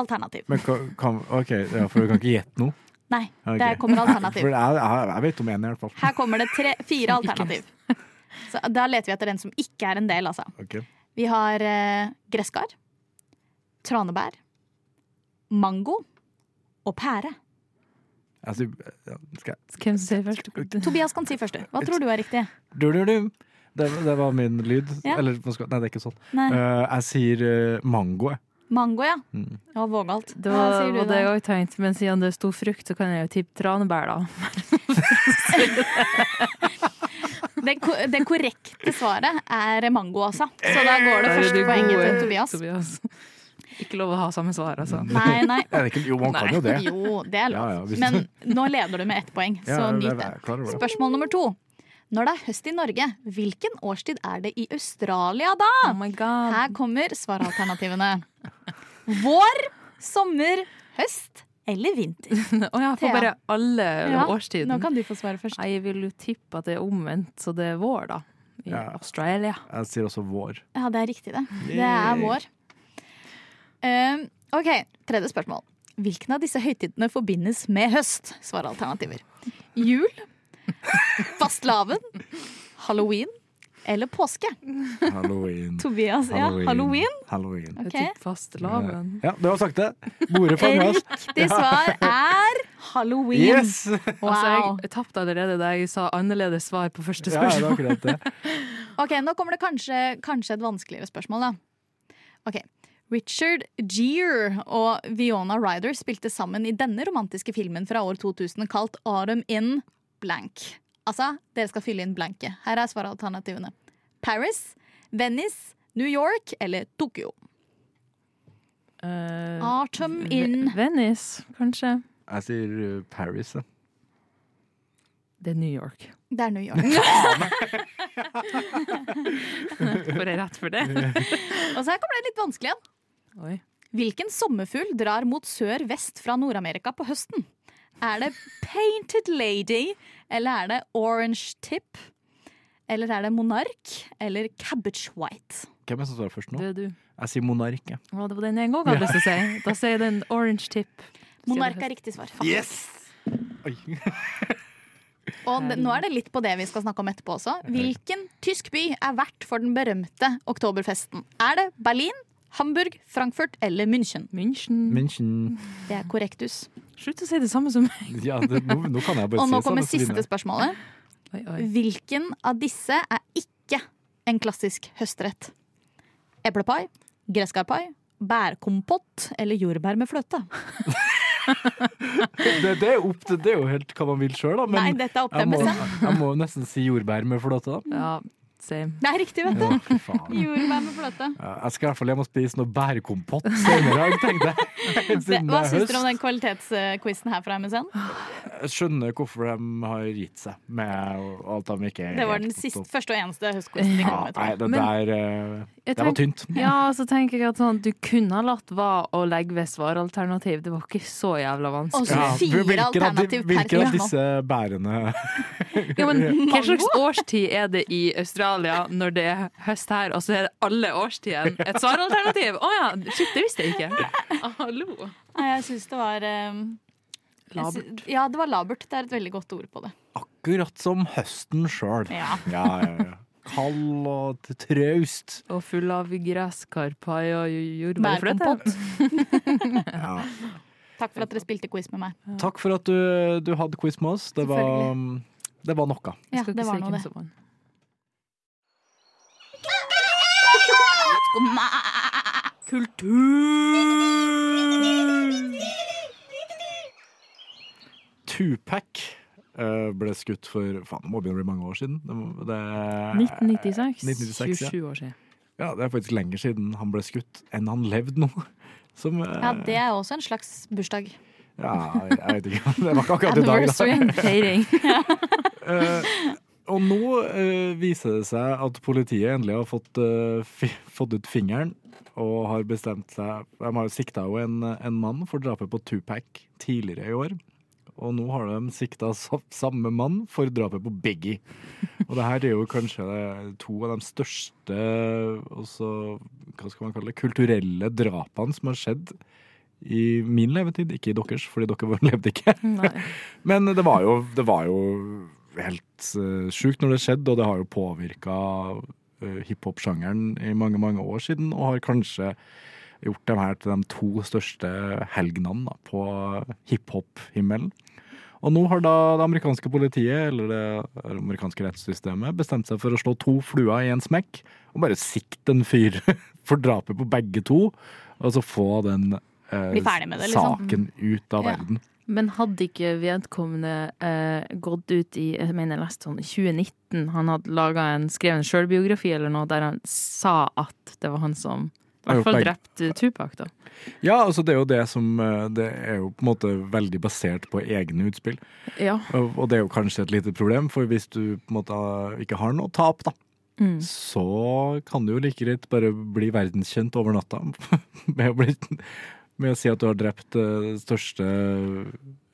Speaker 4: alternativ.
Speaker 3: men kan, kan, OK, ja, for du kan ikke gjette noe?
Speaker 4: Nei,
Speaker 3: Ok.
Speaker 4: der kommer
Speaker 3: For
Speaker 4: alternativ.
Speaker 3: jeg, jeg, jeg vet om én, i hvert fall.
Speaker 4: Her kommer det tre, fire alternativ. Så da leter vi etter den som ikke er en del, altså.
Speaker 3: Ok.
Speaker 4: Vi har eh, gresskar, tranebær, mango og pære.
Speaker 3: Jeg sier- ja, skal jeg-
Speaker 5: Hvem som sier først?
Speaker 4: Tobias kan si først, du. Hva tror du er riktig?
Speaker 3: du, du, du. Det, det var min lyd.
Speaker 4: Ja.
Speaker 3: Eller hva skal- Nei, det er ikke sånn.
Speaker 4: Nei.
Speaker 3: Eh, jeg sier eh, mango, jeg.
Speaker 4: Mango, ja.
Speaker 3: Mm.
Speaker 4: Ja, vågalt.
Speaker 5: Det
Speaker 4: Hva
Speaker 5: var,
Speaker 4: sier du
Speaker 5: var det jeg
Speaker 4: da?
Speaker 5: òg tenkte, men siden det er stor frukt, så kan jeg jo tippe tranebær, da.
Speaker 4: Det, ko- det korrekte svaret er mango, altså. Så da går det
Speaker 5: Der er
Speaker 4: første
Speaker 5: du
Speaker 4: poenget
Speaker 5: god,
Speaker 4: til
Speaker 5: eh,
Speaker 4: Tobias.
Speaker 5: Ikke lov å ha samme svar, altså.
Speaker 4: Nei, nei.
Speaker 3: Er det ikke, jo, man kan jo det.
Speaker 4: Jo, det er
Speaker 3: Ja, ja,
Speaker 4: lov.
Speaker 3: hvis-
Speaker 4: Men nå leder du med ett poeng, så
Speaker 3: Ja, jeg-
Speaker 4: nyt
Speaker 3: jeg
Speaker 4: det.
Speaker 3: er klar over det.
Speaker 4: Spørsmål nummer to. Når det er høst i Norge, hvilken årstid er det i Australia da?
Speaker 5: Oh my god.
Speaker 4: Her kommer svaralternativene. Vår, sommer, høst eller vinter.
Speaker 5: Å ja, for
Speaker 4: Thea.
Speaker 5: bare alle
Speaker 4: Ja,
Speaker 5: årstiden.
Speaker 4: Nå kan du få svare først.
Speaker 5: Nei, Jeg vil jo tippe at det er omvendt, så det er vår, da. I
Speaker 3: Ja.
Speaker 5: Australia.
Speaker 3: Jeg sier også vår.
Speaker 4: Ja, det er riktig, det. Det er vår. Eh, OK, tredje spørsmål. Hvilken av disse høytidene forbindes med høst? Svaralternativer. Jul, fastelavn, halloween eller påske?
Speaker 3: Halloween.
Speaker 4: Tobias, ja. Halloween.
Speaker 3: Halloween. Eh,
Speaker 5: Jeg
Speaker 4: Ok.
Speaker 5: tipper fastelavn.
Speaker 3: Ja, du har sagt det. Bordet fanger oss.
Speaker 4: Riktig svar er halloween.
Speaker 3: Yes!
Speaker 5: Altså,
Speaker 4: Wow.
Speaker 5: jeg tapte allerede da jeg sa annerledes svar på første
Speaker 3: Ja, det er
Speaker 5: spørsmål.
Speaker 3: akkurat det.
Speaker 4: Ok, Nå kommer det kanskje, kanskje et vanskeligere spørsmål, da. Ok, Richard Gere og Viona Ryder spilte sammen i denne romantiske filmen fra år 2000 kalt Autumn in blank. Altså, dere skal fylle inn blanke. Her er svaralternativene. Paris, Venice, New York eller Tokyo.
Speaker 5: Eh,
Speaker 4: Autumn
Speaker 5: Ve-
Speaker 4: in
Speaker 5: Venice, kanskje.
Speaker 3: Jeg sier eh, Paris. jeg.
Speaker 5: Det er New York.
Speaker 4: Det er New York.
Speaker 5: Får jeg rett for det?
Speaker 4: Og så her kommer det litt vanskelig igjen.
Speaker 5: Oi.
Speaker 4: Hvilken sommerfugl drar mot sør-vest fra Nord-Amerika på høsten? Er det Painted Lady, eller er det Orange Tip? Eller er det Monark, eller Cabbage White?
Speaker 3: Hvem er det som står først nå?
Speaker 5: Det er du.
Speaker 3: Jeg sier monark. jeg.
Speaker 5: Å, det var den jeg òg hadde lyst til å si. Da sier jeg den orange tip.
Speaker 4: Monark er riktig svar.
Speaker 3: Oi.
Speaker 4: Og det- nå er det litt på det vi skal snakke om etterpå også. Hvilken tysk by er vert for den berømte oktoberfesten? Er det Berlin, Hamburg, Frankfurt eller München?
Speaker 5: München.
Speaker 3: München.
Speaker 4: Det er korrektus.
Speaker 5: Slutt å si det samme som meg.
Speaker 3: Ja, det, nå, nå kan jeg bare si
Speaker 4: Og nå kommer
Speaker 3: sånn, så vinner
Speaker 4: siste
Speaker 3: jeg.
Speaker 4: spørsmålet.
Speaker 5: Oi, oi.
Speaker 4: Hvilken av disse er ikke en klassisk høstrett? Eplepai, gresskarpai, bærkompott eller jordbær med fløte?
Speaker 3: Det, det, er opp til, det er jo helt hva man vil sjøl, da.
Speaker 4: Nei,
Speaker 3: Men
Speaker 4: dette er
Speaker 3: jeg må,
Speaker 4: oppdemmelse.
Speaker 3: jeg må nesten si jordbær med flåte, da.
Speaker 5: Ja, Same.
Speaker 4: Det er riktig, vet du.
Speaker 3: Å, fy faen.
Speaker 4: Jordbær med fløte.
Speaker 3: Ja, Jeg skal i hvert fall hjem og spise noe bærkompott senere i dag, tenkte jeg. Helt
Speaker 4: Det,
Speaker 3: siden
Speaker 4: hva
Speaker 3: det er
Speaker 4: syns dere om
Speaker 3: høst.
Speaker 4: den kvalitetsquizen her fra MSN?
Speaker 3: Jeg skjønner hvorfor de har gitt seg med alt de ikke er
Speaker 4: Det var den
Speaker 3: helt
Speaker 4: siste,
Speaker 3: opp-
Speaker 4: første og eneste høstquizen de kom
Speaker 3: Ja,
Speaker 4: med. tror
Speaker 3: nei,
Speaker 4: jeg.
Speaker 3: det
Speaker 5: Men-
Speaker 3: der eh,
Speaker 5: Jeg
Speaker 3: Det var
Speaker 5: tenk-
Speaker 3: tynt.
Speaker 5: Ja, så tenker jeg at sånn, du kunne ha latt være å legge ved svaralternativ. Det var ikke så jævla
Speaker 4: Og
Speaker 5: vanskelig.
Speaker 4: så fire
Speaker 3: hvilken av de-
Speaker 4: alternativ per
Speaker 3: Hvilken av
Speaker 4: spørsmål.
Speaker 3: disse bærene
Speaker 5: Ja, men hva slags årstid er det i Australia når det er høst her, og så er det alle årstidene et svaralternativ? Å ja, shit, det visste jeg ikke. Hallo.
Speaker 4: Nei, Jeg syns det var ehm, jeg sy-
Speaker 5: Labert.
Speaker 4: Ja, det var labert. Det er et veldig godt ord på det.
Speaker 3: Akkurat som høsten sjøl.
Speaker 4: Ja.
Speaker 3: Ja, ja, ja. Kald og t- traust.
Speaker 5: Og full av gresskarpai og jordbærfløte.
Speaker 4: Bærkompott.
Speaker 3: Ja.
Speaker 4: Takk for at dere spilte quiz med meg.
Speaker 3: Takk for at du, du hadde quiz med oss. Det var, mm, det var noe.
Speaker 4: Ja, det var noe, det.
Speaker 3: Tupac eh, ble skutt for faen, det må begynne å bli mange år siden. Det, må- det,
Speaker 5: 1996.
Speaker 3: 1996, ja.
Speaker 5: 27 år siden.
Speaker 3: Ja, det er faktisk lenger siden han ble skutt enn han levde nå. Som, eh,
Speaker 4: Ja, Det er også en slags bursdag.
Speaker 3: ja, jeg, jeg vet ikke. Det var ikke akkurat i dag. da.
Speaker 5: Anniversary and feiring.
Speaker 3: Eh, og nå eh, viser det seg at politiet endelig har fått, eh, fi, fått ut fingeren og har bestemt seg De har jo sikta jo en, en mann for drapet på Tupac tidligere i år. Og nå har de sikta sa- samme mann for drapet på Biggie. Og det her er jo kanskje to av de største også, hva skal man kalle det, kulturelle drapene som har skjedd i min levetid. Ikke i deres, fordi dere levde ikke.
Speaker 5: Nei.
Speaker 3: Men det var jo, det var jo helt uh, sjukt når det skjedde, og det har jo påvirka hiphop-sjangeren i mange, mange år siden, og har kanskje gjort dem her til de to største helgenene da, på hiphop-himmelen. Og nå har da det amerikanske politiet, eller det amerikanske rettssystemet, bestemt seg for å slå to fluer i en smekk, og bare sikte en fyr for drapet på begge to, og så få den eh,
Speaker 4: Bli ferdig med det, liksom.
Speaker 3: saken ut av
Speaker 4: Ja.
Speaker 3: verden.
Speaker 5: Men hadde ikke vedkommende eh, gått ut i jeg mener jeg leste sånn i 2019 Han hadde laga en skrevet en sjølbiografi eller noe der han sa at det var han som i
Speaker 3: Har gjort
Speaker 5: hvert fall
Speaker 3: begge.
Speaker 5: drepte Tupac, da.
Speaker 3: Ja, altså det er jo det som eh, Det er jo på en måte veldig basert på egne utspill.
Speaker 5: Ja.
Speaker 3: Og og det er jo kanskje et lite problem, for hvis du på en måte ikke har noe tap, da,
Speaker 5: Mm.
Speaker 3: så kan du jo like greit bare bli verdenskjent over natta med å, bli, med å si at du har drept eh, det største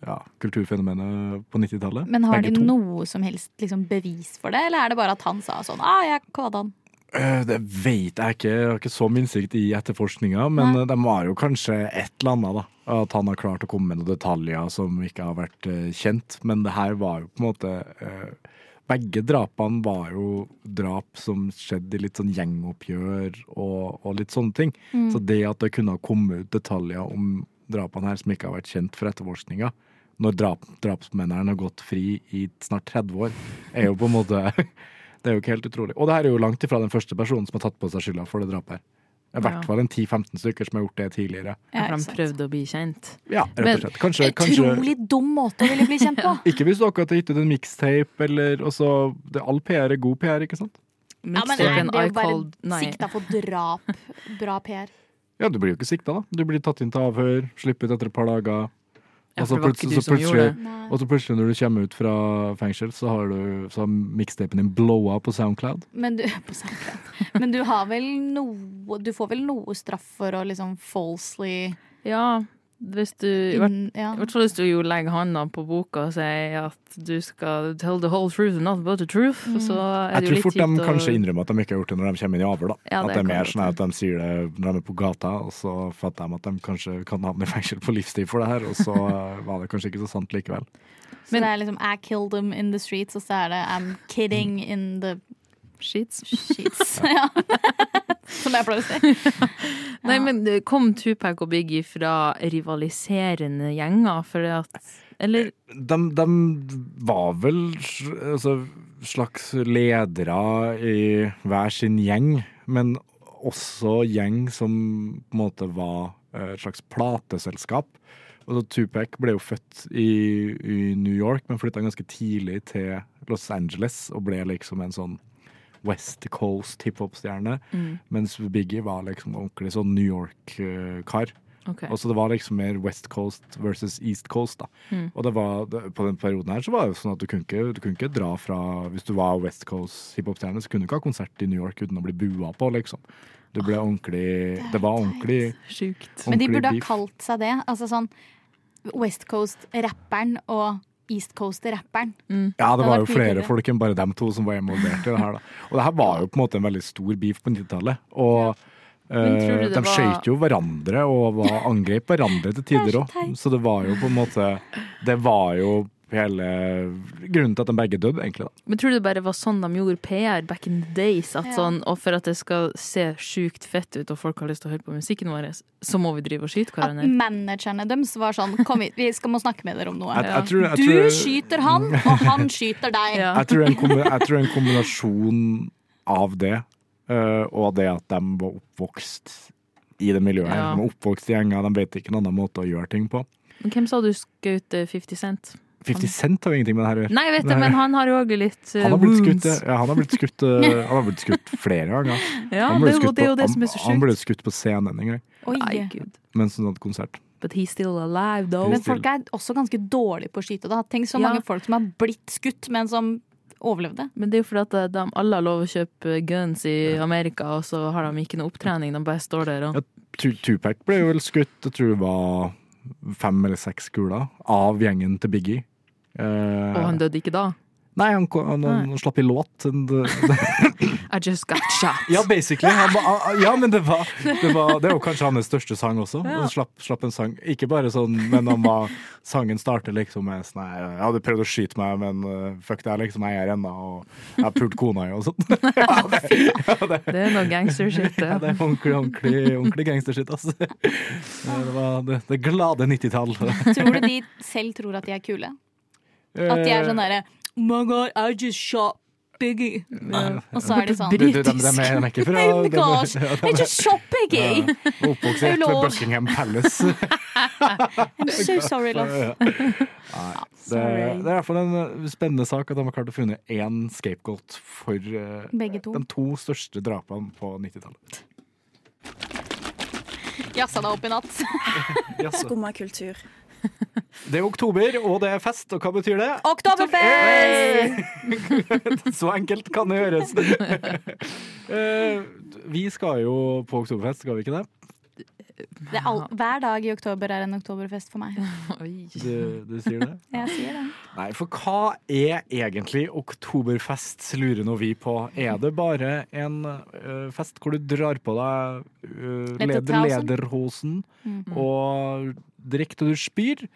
Speaker 3: ja, kulturfenomenet på 90-tallet.
Speaker 4: Men har de
Speaker 3: Begge to.
Speaker 4: noe som helst liksom, bevis for det, eller er det bare at han sa sånn ah, jeg kodet han.
Speaker 3: Eh, Det vet jeg ikke. Jeg har ikke så mye innsikt i etterforskninga, men
Speaker 4: Nei.
Speaker 3: eh, de har jo kanskje et eller annet, da. At han har klart å komme med noen detaljer som ikke har vært eh, kjent. Men det her var jo på en måte eh, Begge drapene var jo drap som skjedde i litt sånn gjengoppgjør og, og litt sånne ting. Så det at det kunne ha kommet ut detaljer om drapene her som ikke har vært kjent for etterforskninga, når drap, drapsmennene har gått fri i snart 30 år, er jo på en måte Det er jo ikke helt utrolig. Og det her er jo langt ifra den første personen som har tatt på seg skylda for det drapet her. I
Speaker 5: Ja.
Speaker 3: hvert fall en 10-15 stykker som har gjort det tidligere.
Speaker 5: For
Speaker 4: ikke
Speaker 5: han
Speaker 4: sant.
Speaker 5: prøvde å bli kjent.
Speaker 3: Ja, rett
Speaker 5: Men
Speaker 3: og slett. Kanskje, kanskje
Speaker 4: Utrolig dum måte å ville bli kjent på!
Speaker 3: Ikke hvis dere har gitt ut en mixtape eller og så- det- All PR er god PR, ikke sant?
Speaker 4: Ja, men
Speaker 5: Mixtape
Speaker 4: er
Speaker 5: and
Speaker 4: det
Speaker 5: I
Speaker 4: jo
Speaker 5: called-
Speaker 4: bare
Speaker 5: nei.
Speaker 4: sikta på drap. Bra PR.
Speaker 3: Ja, du blir jo ikke sikta, da. Du blir tatt inn til avhør, sluppet etter et par dager.
Speaker 5: Ja,
Speaker 3: Og så
Speaker 5: for det var ikke
Speaker 3: plutselig,
Speaker 5: du
Speaker 3: så
Speaker 5: som gjorde
Speaker 3: plutselig,
Speaker 5: det.
Speaker 4: Nei.
Speaker 3: og så plutselig når du kommer ut fra fengsel, så har, du, så har mixtapen din blowa på Soundcloud.
Speaker 4: Men du, på SoundCloud. Men du har vel noe Du får vel noe straff for å liksom falsely
Speaker 5: Ja, hvis du i hvert-
Speaker 4: inn, ja.
Speaker 5: i hvert fall hvis du jo legger handa på boka og sier at du skal tell the whole truth and not but the truth, så er
Speaker 3: Jeg
Speaker 5: det jo
Speaker 3: tror
Speaker 5: litt
Speaker 3: fort de
Speaker 5: kjipt å
Speaker 3: kanskje innrømmer at de ikke har gjort det når de kommer inn i avhør. da.
Speaker 5: Ja,
Speaker 3: at
Speaker 5: det
Speaker 3: det er
Speaker 5: kan
Speaker 3: mer
Speaker 5: godt
Speaker 3: sånn at de sier det når de er på gata, og så fatter de at de kanskje kan havne i fengsel på livstid for det her, og så eh, var det kanskje ikke så sant likevel.
Speaker 4: Så det er liksom I killed them in the streets, og så er det I'm kidding
Speaker 3: Mm.
Speaker 4: in the
Speaker 5: Sheets.
Speaker 4: sheets. Ja. Som jeg pleier å si.
Speaker 5: Nei, men det kom Tupac og Biggie fra rivaliserende gjenger? Fordi at Eller
Speaker 3: De, de var vel s- altså, slags ledere i hver sin gjeng, men også gjeng som på en måte var eh, et slags plateselskap. Og så Tupac ble jo født i, i New York, men flytta ganske tidlig til Los Angeles og ble liksom en sånn West Coast hiphop-stjerne, mens Biggie var liksom ordentlig sånn New eh, York-kar.
Speaker 5: Ok.
Speaker 3: Og så det var liksom mer West Coast versus East Coast. da.
Speaker 4: Mm.
Speaker 3: Og det var, det, på den perioden her så var det jo sånn at du kunne ikke, du kunne ikke dra fra Hvis du var West Coast hiphop-stjerne, så kunne du ikke ha konsert i New York uten å bli bua på, liksom. Det ble ordentlig Det var ordentlig
Speaker 5: Sjukt.
Speaker 4: Men de
Speaker 3: ordentlig
Speaker 4: burde ha
Speaker 3: beef.
Speaker 4: kalt seg det. Altså sånn West Coast-rapperen og East Coast-rapperen.
Speaker 3: Ja, det
Speaker 4: Det
Speaker 3: var
Speaker 4: hadde
Speaker 3: jo
Speaker 4: vært mye
Speaker 3: flere
Speaker 4: kulere.
Speaker 3: folk enn bare dem to som var involvert i det her. Da. Og det her var jo på en måte en veldig stor beef på 90-tallet. Og
Speaker 5: Men tror du
Speaker 3: eh,
Speaker 5: det
Speaker 3: de
Speaker 5: var-
Speaker 3: skjøt jo hverandre og var angrep hverandre til
Speaker 4: er
Speaker 3: tider
Speaker 4: så
Speaker 3: òg.
Speaker 4: teit.
Speaker 3: Så det var jo på en måte Det var jo hele grunnen til at de begge døde, egentlig. da.
Speaker 5: Men tror du det bare var sånn de gjorde PR back in the days? At
Speaker 4: Ja.
Speaker 5: sånn, og for at det skal se sjukt fett ut, og folk har lyst til å høre på musikken vår, så må vi drive og skyte
Speaker 4: At
Speaker 5: hverandre?
Speaker 4: managerne deres var sånn Kom hit, vi skal må snakke med dere om noe.
Speaker 3: Jeg, jeg, tror, jeg,
Speaker 4: Du
Speaker 3: tror,
Speaker 4: skyter han, og han skyter deg.
Speaker 5: Ja.
Speaker 3: jeg, tror en, kombi- jeg tror en kombinasjon av det eh, og det at de var oppvokst i det miljøet her.
Speaker 5: Ja.
Speaker 3: De var oppvokst i gjenger, de vet ikke en annen måte å gjøre ting på.
Speaker 5: Men Hvem sa du skjøt eh, 50 Cent?
Speaker 3: 50 Cent har jo ingenting med det her å gjøre.
Speaker 5: Nei, jeg vet det,
Speaker 3: Nei.
Speaker 5: men han har jo òg litt eh,
Speaker 3: Han har blitt skutt,
Speaker 5: wounds.
Speaker 3: ja, han har blitt skutt, eh, han har blitt skutt flere ganger.
Speaker 5: Ja,
Speaker 3: han ble
Speaker 5: det, er jo-
Speaker 3: skutt
Speaker 5: det er jo
Speaker 3: på-
Speaker 5: det som er så
Speaker 3: han, han
Speaker 5: sjukt.
Speaker 3: ble skutt på scenen en gang
Speaker 5: Nei,
Speaker 4: Oi.
Speaker 5: Gud.
Speaker 3: mens han hadde konsert.
Speaker 5: But he's still alive, though.
Speaker 4: Men folk er også ganske dårlige på å skyte. Da. Tenk så
Speaker 5: Ja.
Speaker 4: mange folk som har blitt skutt, men som overlevde.
Speaker 5: Men det er jo fordi at de alle har lov å kjøpe guns i Amerika, og så har de ikke noe opptrening. De bare står der og
Speaker 3: Ja. Tu- Tupac ble jo vel skutt, jeg tror det var fem eller seks kuler, av gjengen til Biggie. Eh,
Speaker 5: Og han døde ikke da.
Speaker 3: nei, han, ko- han, han slapp i låt. En- det-
Speaker 5: I just got shot.
Speaker 3: Ja, basically. Han, ba- ja, men det var, det var Det er jo kanskje hans største sang også.
Speaker 5: Ja.
Speaker 3: Han slapp, slapp en sang. Ikke bare sånn, men han var Sangen starter liksom med sånn her, Jeg hadde prøvd å skyte meg, men eh, fuck det, jeg er liksom jeg er ennå, og jeg har pult kona jo, og sånt.
Speaker 5: Det er noe gangstershit.
Speaker 3: Ja, det er ordentlig, ordentlig, ordentlig gangstershit, altså. Det var det, det glade 90-tall.
Speaker 4: Tror du de selv tror at de er kule? At de er sånn
Speaker 3: Eh,
Speaker 4: derre Oh my god, I just shot Biggie. Og så er de sånn
Speaker 3: Du, du, de, de, de, er, de er ikke fra
Speaker 4: Oh my
Speaker 3: de- de-
Speaker 4: gosh,
Speaker 3: ja, de-
Speaker 4: I just shot Biggie!
Speaker 3: ja, Oppvokst rett ved Buckingham Palace.
Speaker 4: I'm so sorry, love.
Speaker 3: Ja. Nei, det, det er i hvert fall en eh, spennende sak at de har klart å finne én scapegoat for eh,
Speaker 4: Begge to.
Speaker 3: de to største drapene på 90-tallet.
Speaker 4: Jassa deg opp i natt.
Speaker 3: Jaså.
Speaker 10: Skumma kultur.
Speaker 3: Det er oktober, og det er fest, og hva betyr det?
Speaker 4: Oktoberfest!
Speaker 3: Så enkelt kan det gjøres. Eh, vi skal jo på oktoberfest, skal vi ikke det?
Speaker 4: Det er all, hver dag i oktober er en oktoberfest for meg.
Speaker 5: Oi.
Speaker 3: Du, du sier det?
Speaker 4: Jeg sier det.
Speaker 3: Nei, for hva er egentlig oktoberfest, lurer nå vi på. Er det bare en eh, fest hvor du drar på deg eh,
Speaker 4: Ledertausen?
Speaker 3: leder, lederhosen og drikker til du spyr?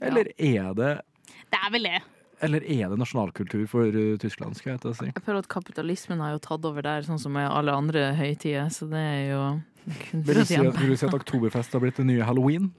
Speaker 3: Eller er det
Speaker 4: Det er vel det.
Speaker 3: eller er det nasjonalkultur for eh, Tyskland, skal jeg til å si.
Speaker 5: Jeg føler at kapitalismen har jo tatt over der, sånn som med alle andre høytider, så det er jo kun
Speaker 3: Vil du
Speaker 5: for
Speaker 3: si,
Speaker 5: igjen.
Speaker 3: at- vil du si at oktoberfest har blitt det nye halloween?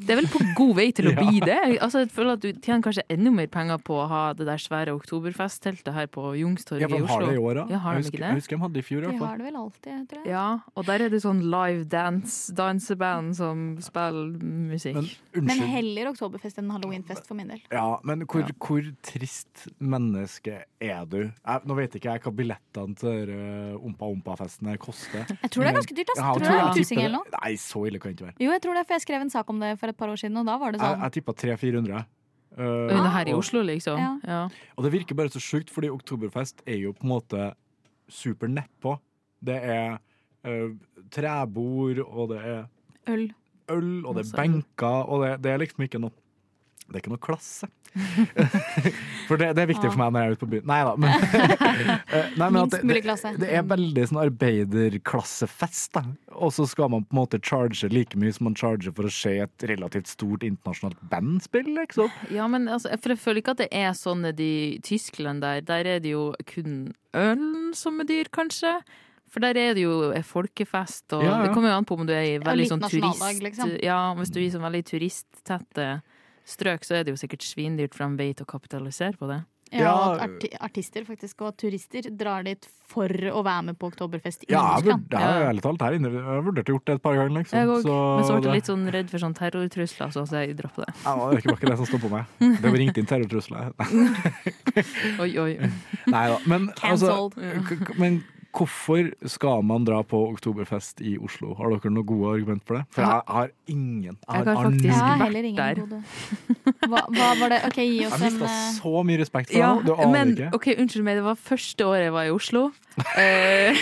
Speaker 5: Det er vel på god vei til å
Speaker 3: Ja.
Speaker 5: bli det. Altså, jeg føler at du tjener kanskje enda mer penger på å ha det der svære oktoberfestteltet her på Youngstorget
Speaker 3: Ja, for
Speaker 5: i
Speaker 3: de har det i
Speaker 5: Oslo.
Speaker 3: år, da.
Speaker 5: Ja, har de
Speaker 3: jeg, husker,
Speaker 5: ikke det?
Speaker 3: jeg husker de hadde det i fjor. i
Speaker 4: De
Speaker 3: hvert fall.
Speaker 4: har det vel alltid, tror jeg.
Speaker 5: Ja, og der er det sånn live dance, danseband som spiller musikk.
Speaker 3: Men
Speaker 4: Men
Speaker 3: unnskyld.
Speaker 4: heller oktoberfest enn halloweenfest for min del.
Speaker 3: Ja, men hvor,
Speaker 5: Ja.
Speaker 3: hvor trist menneske er du? Jeg, nå vet ikke jeg hva billettene til denne Ompa Ompa-festen her koster.
Speaker 4: Jeg tror det er ganske dyrt. ass.
Speaker 3: Ja,
Speaker 4: tror
Speaker 3: jeg
Speaker 4: det er
Speaker 3: jeg
Speaker 4: en tusing
Speaker 3: tipper
Speaker 4: eller noe.
Speaker 3: det- Nei, så ille kan det ikke være.
Speaker 4: Jo, jeg tror det, for jeg skrev en sak om det for et par år siden, og da var det
Speaker 3: Jeg,
Speaker 4: sånn.
Speaker 3: jeg tippa 300-400.
Speaker 5: Og det her i Oslo, liksom.
Speaker 4: Ja.
Speaker 5: Ja.
Speaker 3: Eh, Og det virker bare så sjukt, fordi Oktoberfest er jo på en måte super nedpå. Det er eh, trebord, og det er
Speaker 4: Øl.
Speaker 3: øl, og det
Speaker 5: Masse
Speaker 3: er
Speaker 5: øl.
Speaker 3: benker, og det, det er liksom ikke noe Det er ikke noe klasse. For det, det er viktig for meg når jeg er ute på byen. Nei da, men, Eh, nei, men at
Speaker 4: Minst mulig
Speaker 3: det,
Speaker 4: klasse.
Speaker 3: det, det er veldig sånn arbeiderklassefest, da. Og så skal man på en måte charge like mye som man charger for å se et relativt stort internasjonalt band spille, liksom.
Speaker 5: Ja, men altså, jeg- for jeg føler ikke at det er sånn nede i Tyskland der. Der er det jo kun ølen som er dyr, kanskje. For der er det jo en folkefest, og
Speaker 3: Ja, ja.
Speaker 5: det kommer jo an på om du er i veldig
Speaker 4: litt
Speaker 5: sånn
Speaker 4: nasjonaldag,
Speaker 5: turist...
Speaker 4: liksom.
Speaker 5: Ja, hvis du er i sånn veldig turisttette strøk, så er det jo sikkert svindyrt, for de vet å kapitalisere på det.
Speaker 4: Ja,
Speaker 3: Ja.
Speaker 4: at arti artister faktisk og turister drar dit for å være med på Oktoberfest i
Speaker 3: Ja, jeg
Speaker 4: Russland.
Speaker 3: vurd- ja, ærlig talt, her inne, jeg vurderte gjort det et par ganger. Liksom.
Speaker 5: Jeg òg. Men så ble
Speaker 3: det-
Speaker 5: jeg litt sånn redd for sånn terrortrusler, så jeg droppa det.
Speaker 3: Ja, det var ikke- var ikke det som stod på meg. Det var ringt inn terrortrusler.
Speaker 5: Oi, oi.
Speaker 3: Nei da. Men, altså,
Speaker 4: Cancelled.
Speaker 3: k- k- men hvorfor skal man dra på oktoberfest i Oslo? Har dere noen gode argument for det? For jeg har ingen.
Speaker 5: Jeg
Speaker 3: Jeg
Speaker 5: har
Speaker 3: har
Speaker 4: Jeg
Speaker 5: faktisk-
Speaker 3: ingen.
Speaker 4: har
Speaker 5: vært
Speaker 4: heller ingen
Speaker 5: der.
Speaker 4: gode. Hva, hva var det? Ok, gi oss
Speaker 3: Jeg
Speaker 4: en
Speaker 3: mista
Speaker 4: eh,
Speaker 3: så mye respekt for
Speaker 5: Ja,
Speaker 3: henne. Du aner
Speaker 5: men
Speaker 3: ikke.
Speaker 5: ok, unnskyld meg, det var første året jeg var i Oslo. Eh,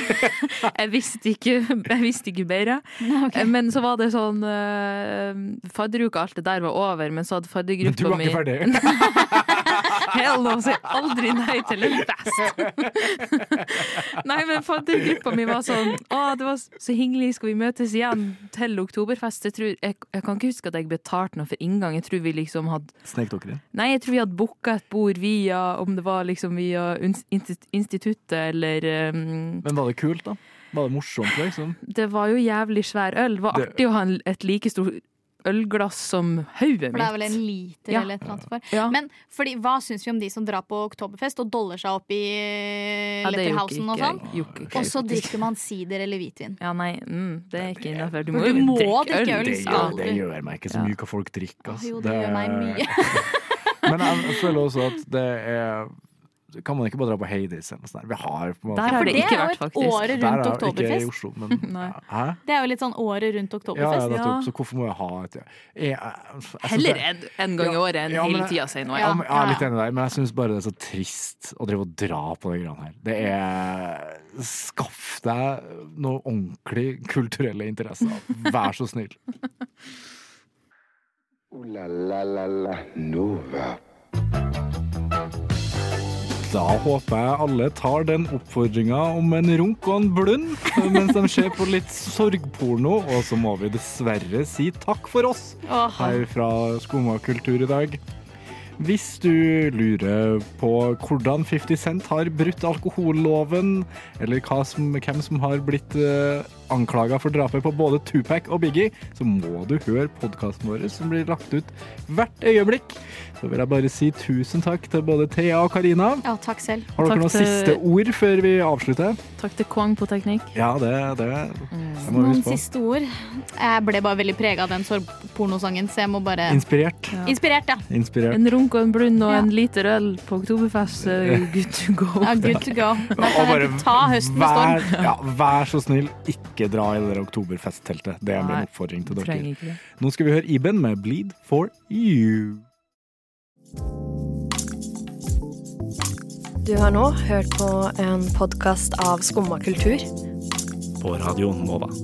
Speaker 5: jeg, visste ikke, jeg visste ikke bedre. Eh, Men så var det sånn uh, Fadderuka, alt det der var over, men så hadde
Speaker 3: Men du
Speaker 5: faddergruppa
Speaker 3: var
Speaker 5: mi
Speaker 3: ikke ferdig.
Speaker 5: Hell no, sier aldri nei til en fest! nei, men faddergruppa mi var sånn Å, det var så hyggelig, skal vi møtes igjen til oktoberfest? Jeg, tror, jeg, jeg kan ikke huske at jeg betalte noe for inngang. Jeg tror vi liksom hadde
Speaker 3: Snek dere inn.
Speaker 5: Nei, jeg tror vi hadde booka et bord via Om det var liksom via ins- insti- instituttet eller um,
Speaker 3: Men var det kult, da? Var det morsomt, liksom?
Speaker 5: Det var jo jævlig svær øl. Det var
Speaker 3: Det-
Speaker 5: artig å ha en, et like stort ølglass som hodet
Speaker 4: For det er vel en
Speaker 5: mitt.
Speaker 4: liter
Speaker 5: Ja.
Speaker 4: eller et eller annet. For.
Speaker 5: Ja.
Speaker 4: Men fordi, hva syns vi om de som drar på oktoberfest og doller seg opp i eh,
Speaker 5: Ja, det gjorde
Speaker 4: Letterhausen
Speaker 5: ikke
Speaker 4: og sånn?
Speaker 5: jeg. Gjorde ikke
Speaker 4: Og så
Speaker 5: jeg.
Speaker 4: drikker man sider eller hvitvin.
Speaker 5: Ja, nei, mm, det er ikke innafor. Du
Speaker 4: Men
Speaker 5: må
Speaker 4: du
Speaker 5: jo
Speaker 4: må
Speaker 5: drikke
Speaker 4: drikke
Speaker 5: øl.
Speaker 4: øl, liksom.
Speaker 3: Det
Speaker 4: skal
Speaker 3: gjør,
Speaker 4: du.
Speaker 3: det gjør meg ikke så
Speaker 5: Ja.
Speaker 3: mye hva folk drikker.
Speaker 4: Åh,
Speaker 3: ass.
Speaker 4: jo, det gjør meg mye.
Speaker 3: Men jeg føler også at det er Kan man ikke bare dra på Hades eller noe sånt? der? Vi har på en måte
Speaker 5: Der har
Speaker 4: For
Speaker 5: det
Speaker 4: det
Speaker 5: ikke
Speaker 4: er jo
Speaker 5: vært,
Speaker 4: et
Speaker 5: faktisk.
Speaker 4: året
Speaker 3: Der er
Speaker 4: rundt
Speaker 3: det Ikke i
Speaker 4: oktoberfest.
Speaker 3: Oslo, men
Speaker 5: Nei.
Speaker 3: Hæ?
Speaker 4: Det er jo litt sånn året rundt
Speaker 3: Ja, ja,
Speaker 4: oktoberfest.
Speaker 3: nettopp.
Speaker 5: ja.
Speaker 3: Så hvorfor må jeg ha et jeg, jeg, jeg, synes
Speaker 5: Heller
Speaker 3: det-
Speaker 5: en, en gang i
Speaker 3: Ja,
Speaker 5: året enn
Speaker 3: ja, men
Speaker 5: hele
Speaker 3: det-
Speaker 5: tida, sier nå.
Speaker 3: Ja,
Speaker 5: Ja.
Speaker 3: men, jeg er litt enig der, men jeg syns bare det er så trist å drive og dra på de greiene her. Det er Skaff deg noe ordentlig kulturelle interesser. Vær så snill.
Speaker 2: Ooh la la la la Nova.
Speaker 3: Da håper jeg alle tar den oppfordringa om en runk og en blund mens de ser på litt sorgporno, og så må vi dessverre si takk for oss her fra Skumma kultur i dag. Hvis du lurer på hvordan 50 Cent har brutt alkoholloven, eller hva som, hvem som har blitt uh, anklaga for drapet på både Tupac og Biggie, så må du høre podkasten vår som blir lagt ut hvert øyeblikk. Så vil jeg bare si tusen takk til både Thea og Karina.
Speaker 4: Ja, takk selv.
Speaker 3: Har dere
Speaker 5: Takk
Speaker 3: noen
Speaker 5: til-
Speaker 3: siste ord før vi avslutter?
Speaker 5: Takk til Kwang på teknikk.
Speaker 3: Ja, det, det, det må vi
Speaker 4: Noen
Speaker 3: huske på.
Speaker 4: siste ord? Jeg ble bare veldig prega av den sorgpornosangen, så jeg må bare
Speaker 3: Inspirert.
Speaker 4: Inspirert, ja.
Speaker 3: Inspirert.
Speaker 5: En runk og en blund og
Speaker 4: Ja.
Speaker 5: en liter øl på Oktoberfest. eh, Good to go.
Speaker 4: ja good to go. Derfor,
Speaker 3: Og bare
Speaker 4: ta høsten med storm.
Speaker 3: vær, ja, vær så snill, ikke dra i det der oktoberfestteltet. Det er
Speaker 5: Nei,
Speaker 3: min oppfordring til dere.
Speaker 5: Trenger ikke det.
Speaker 3: Nå skal vi høre Iben med Bleed for you.
Speaker 10: Du har nå hørt på en podkast av Skumma kultur.
Speaker 9: På Radio Nova.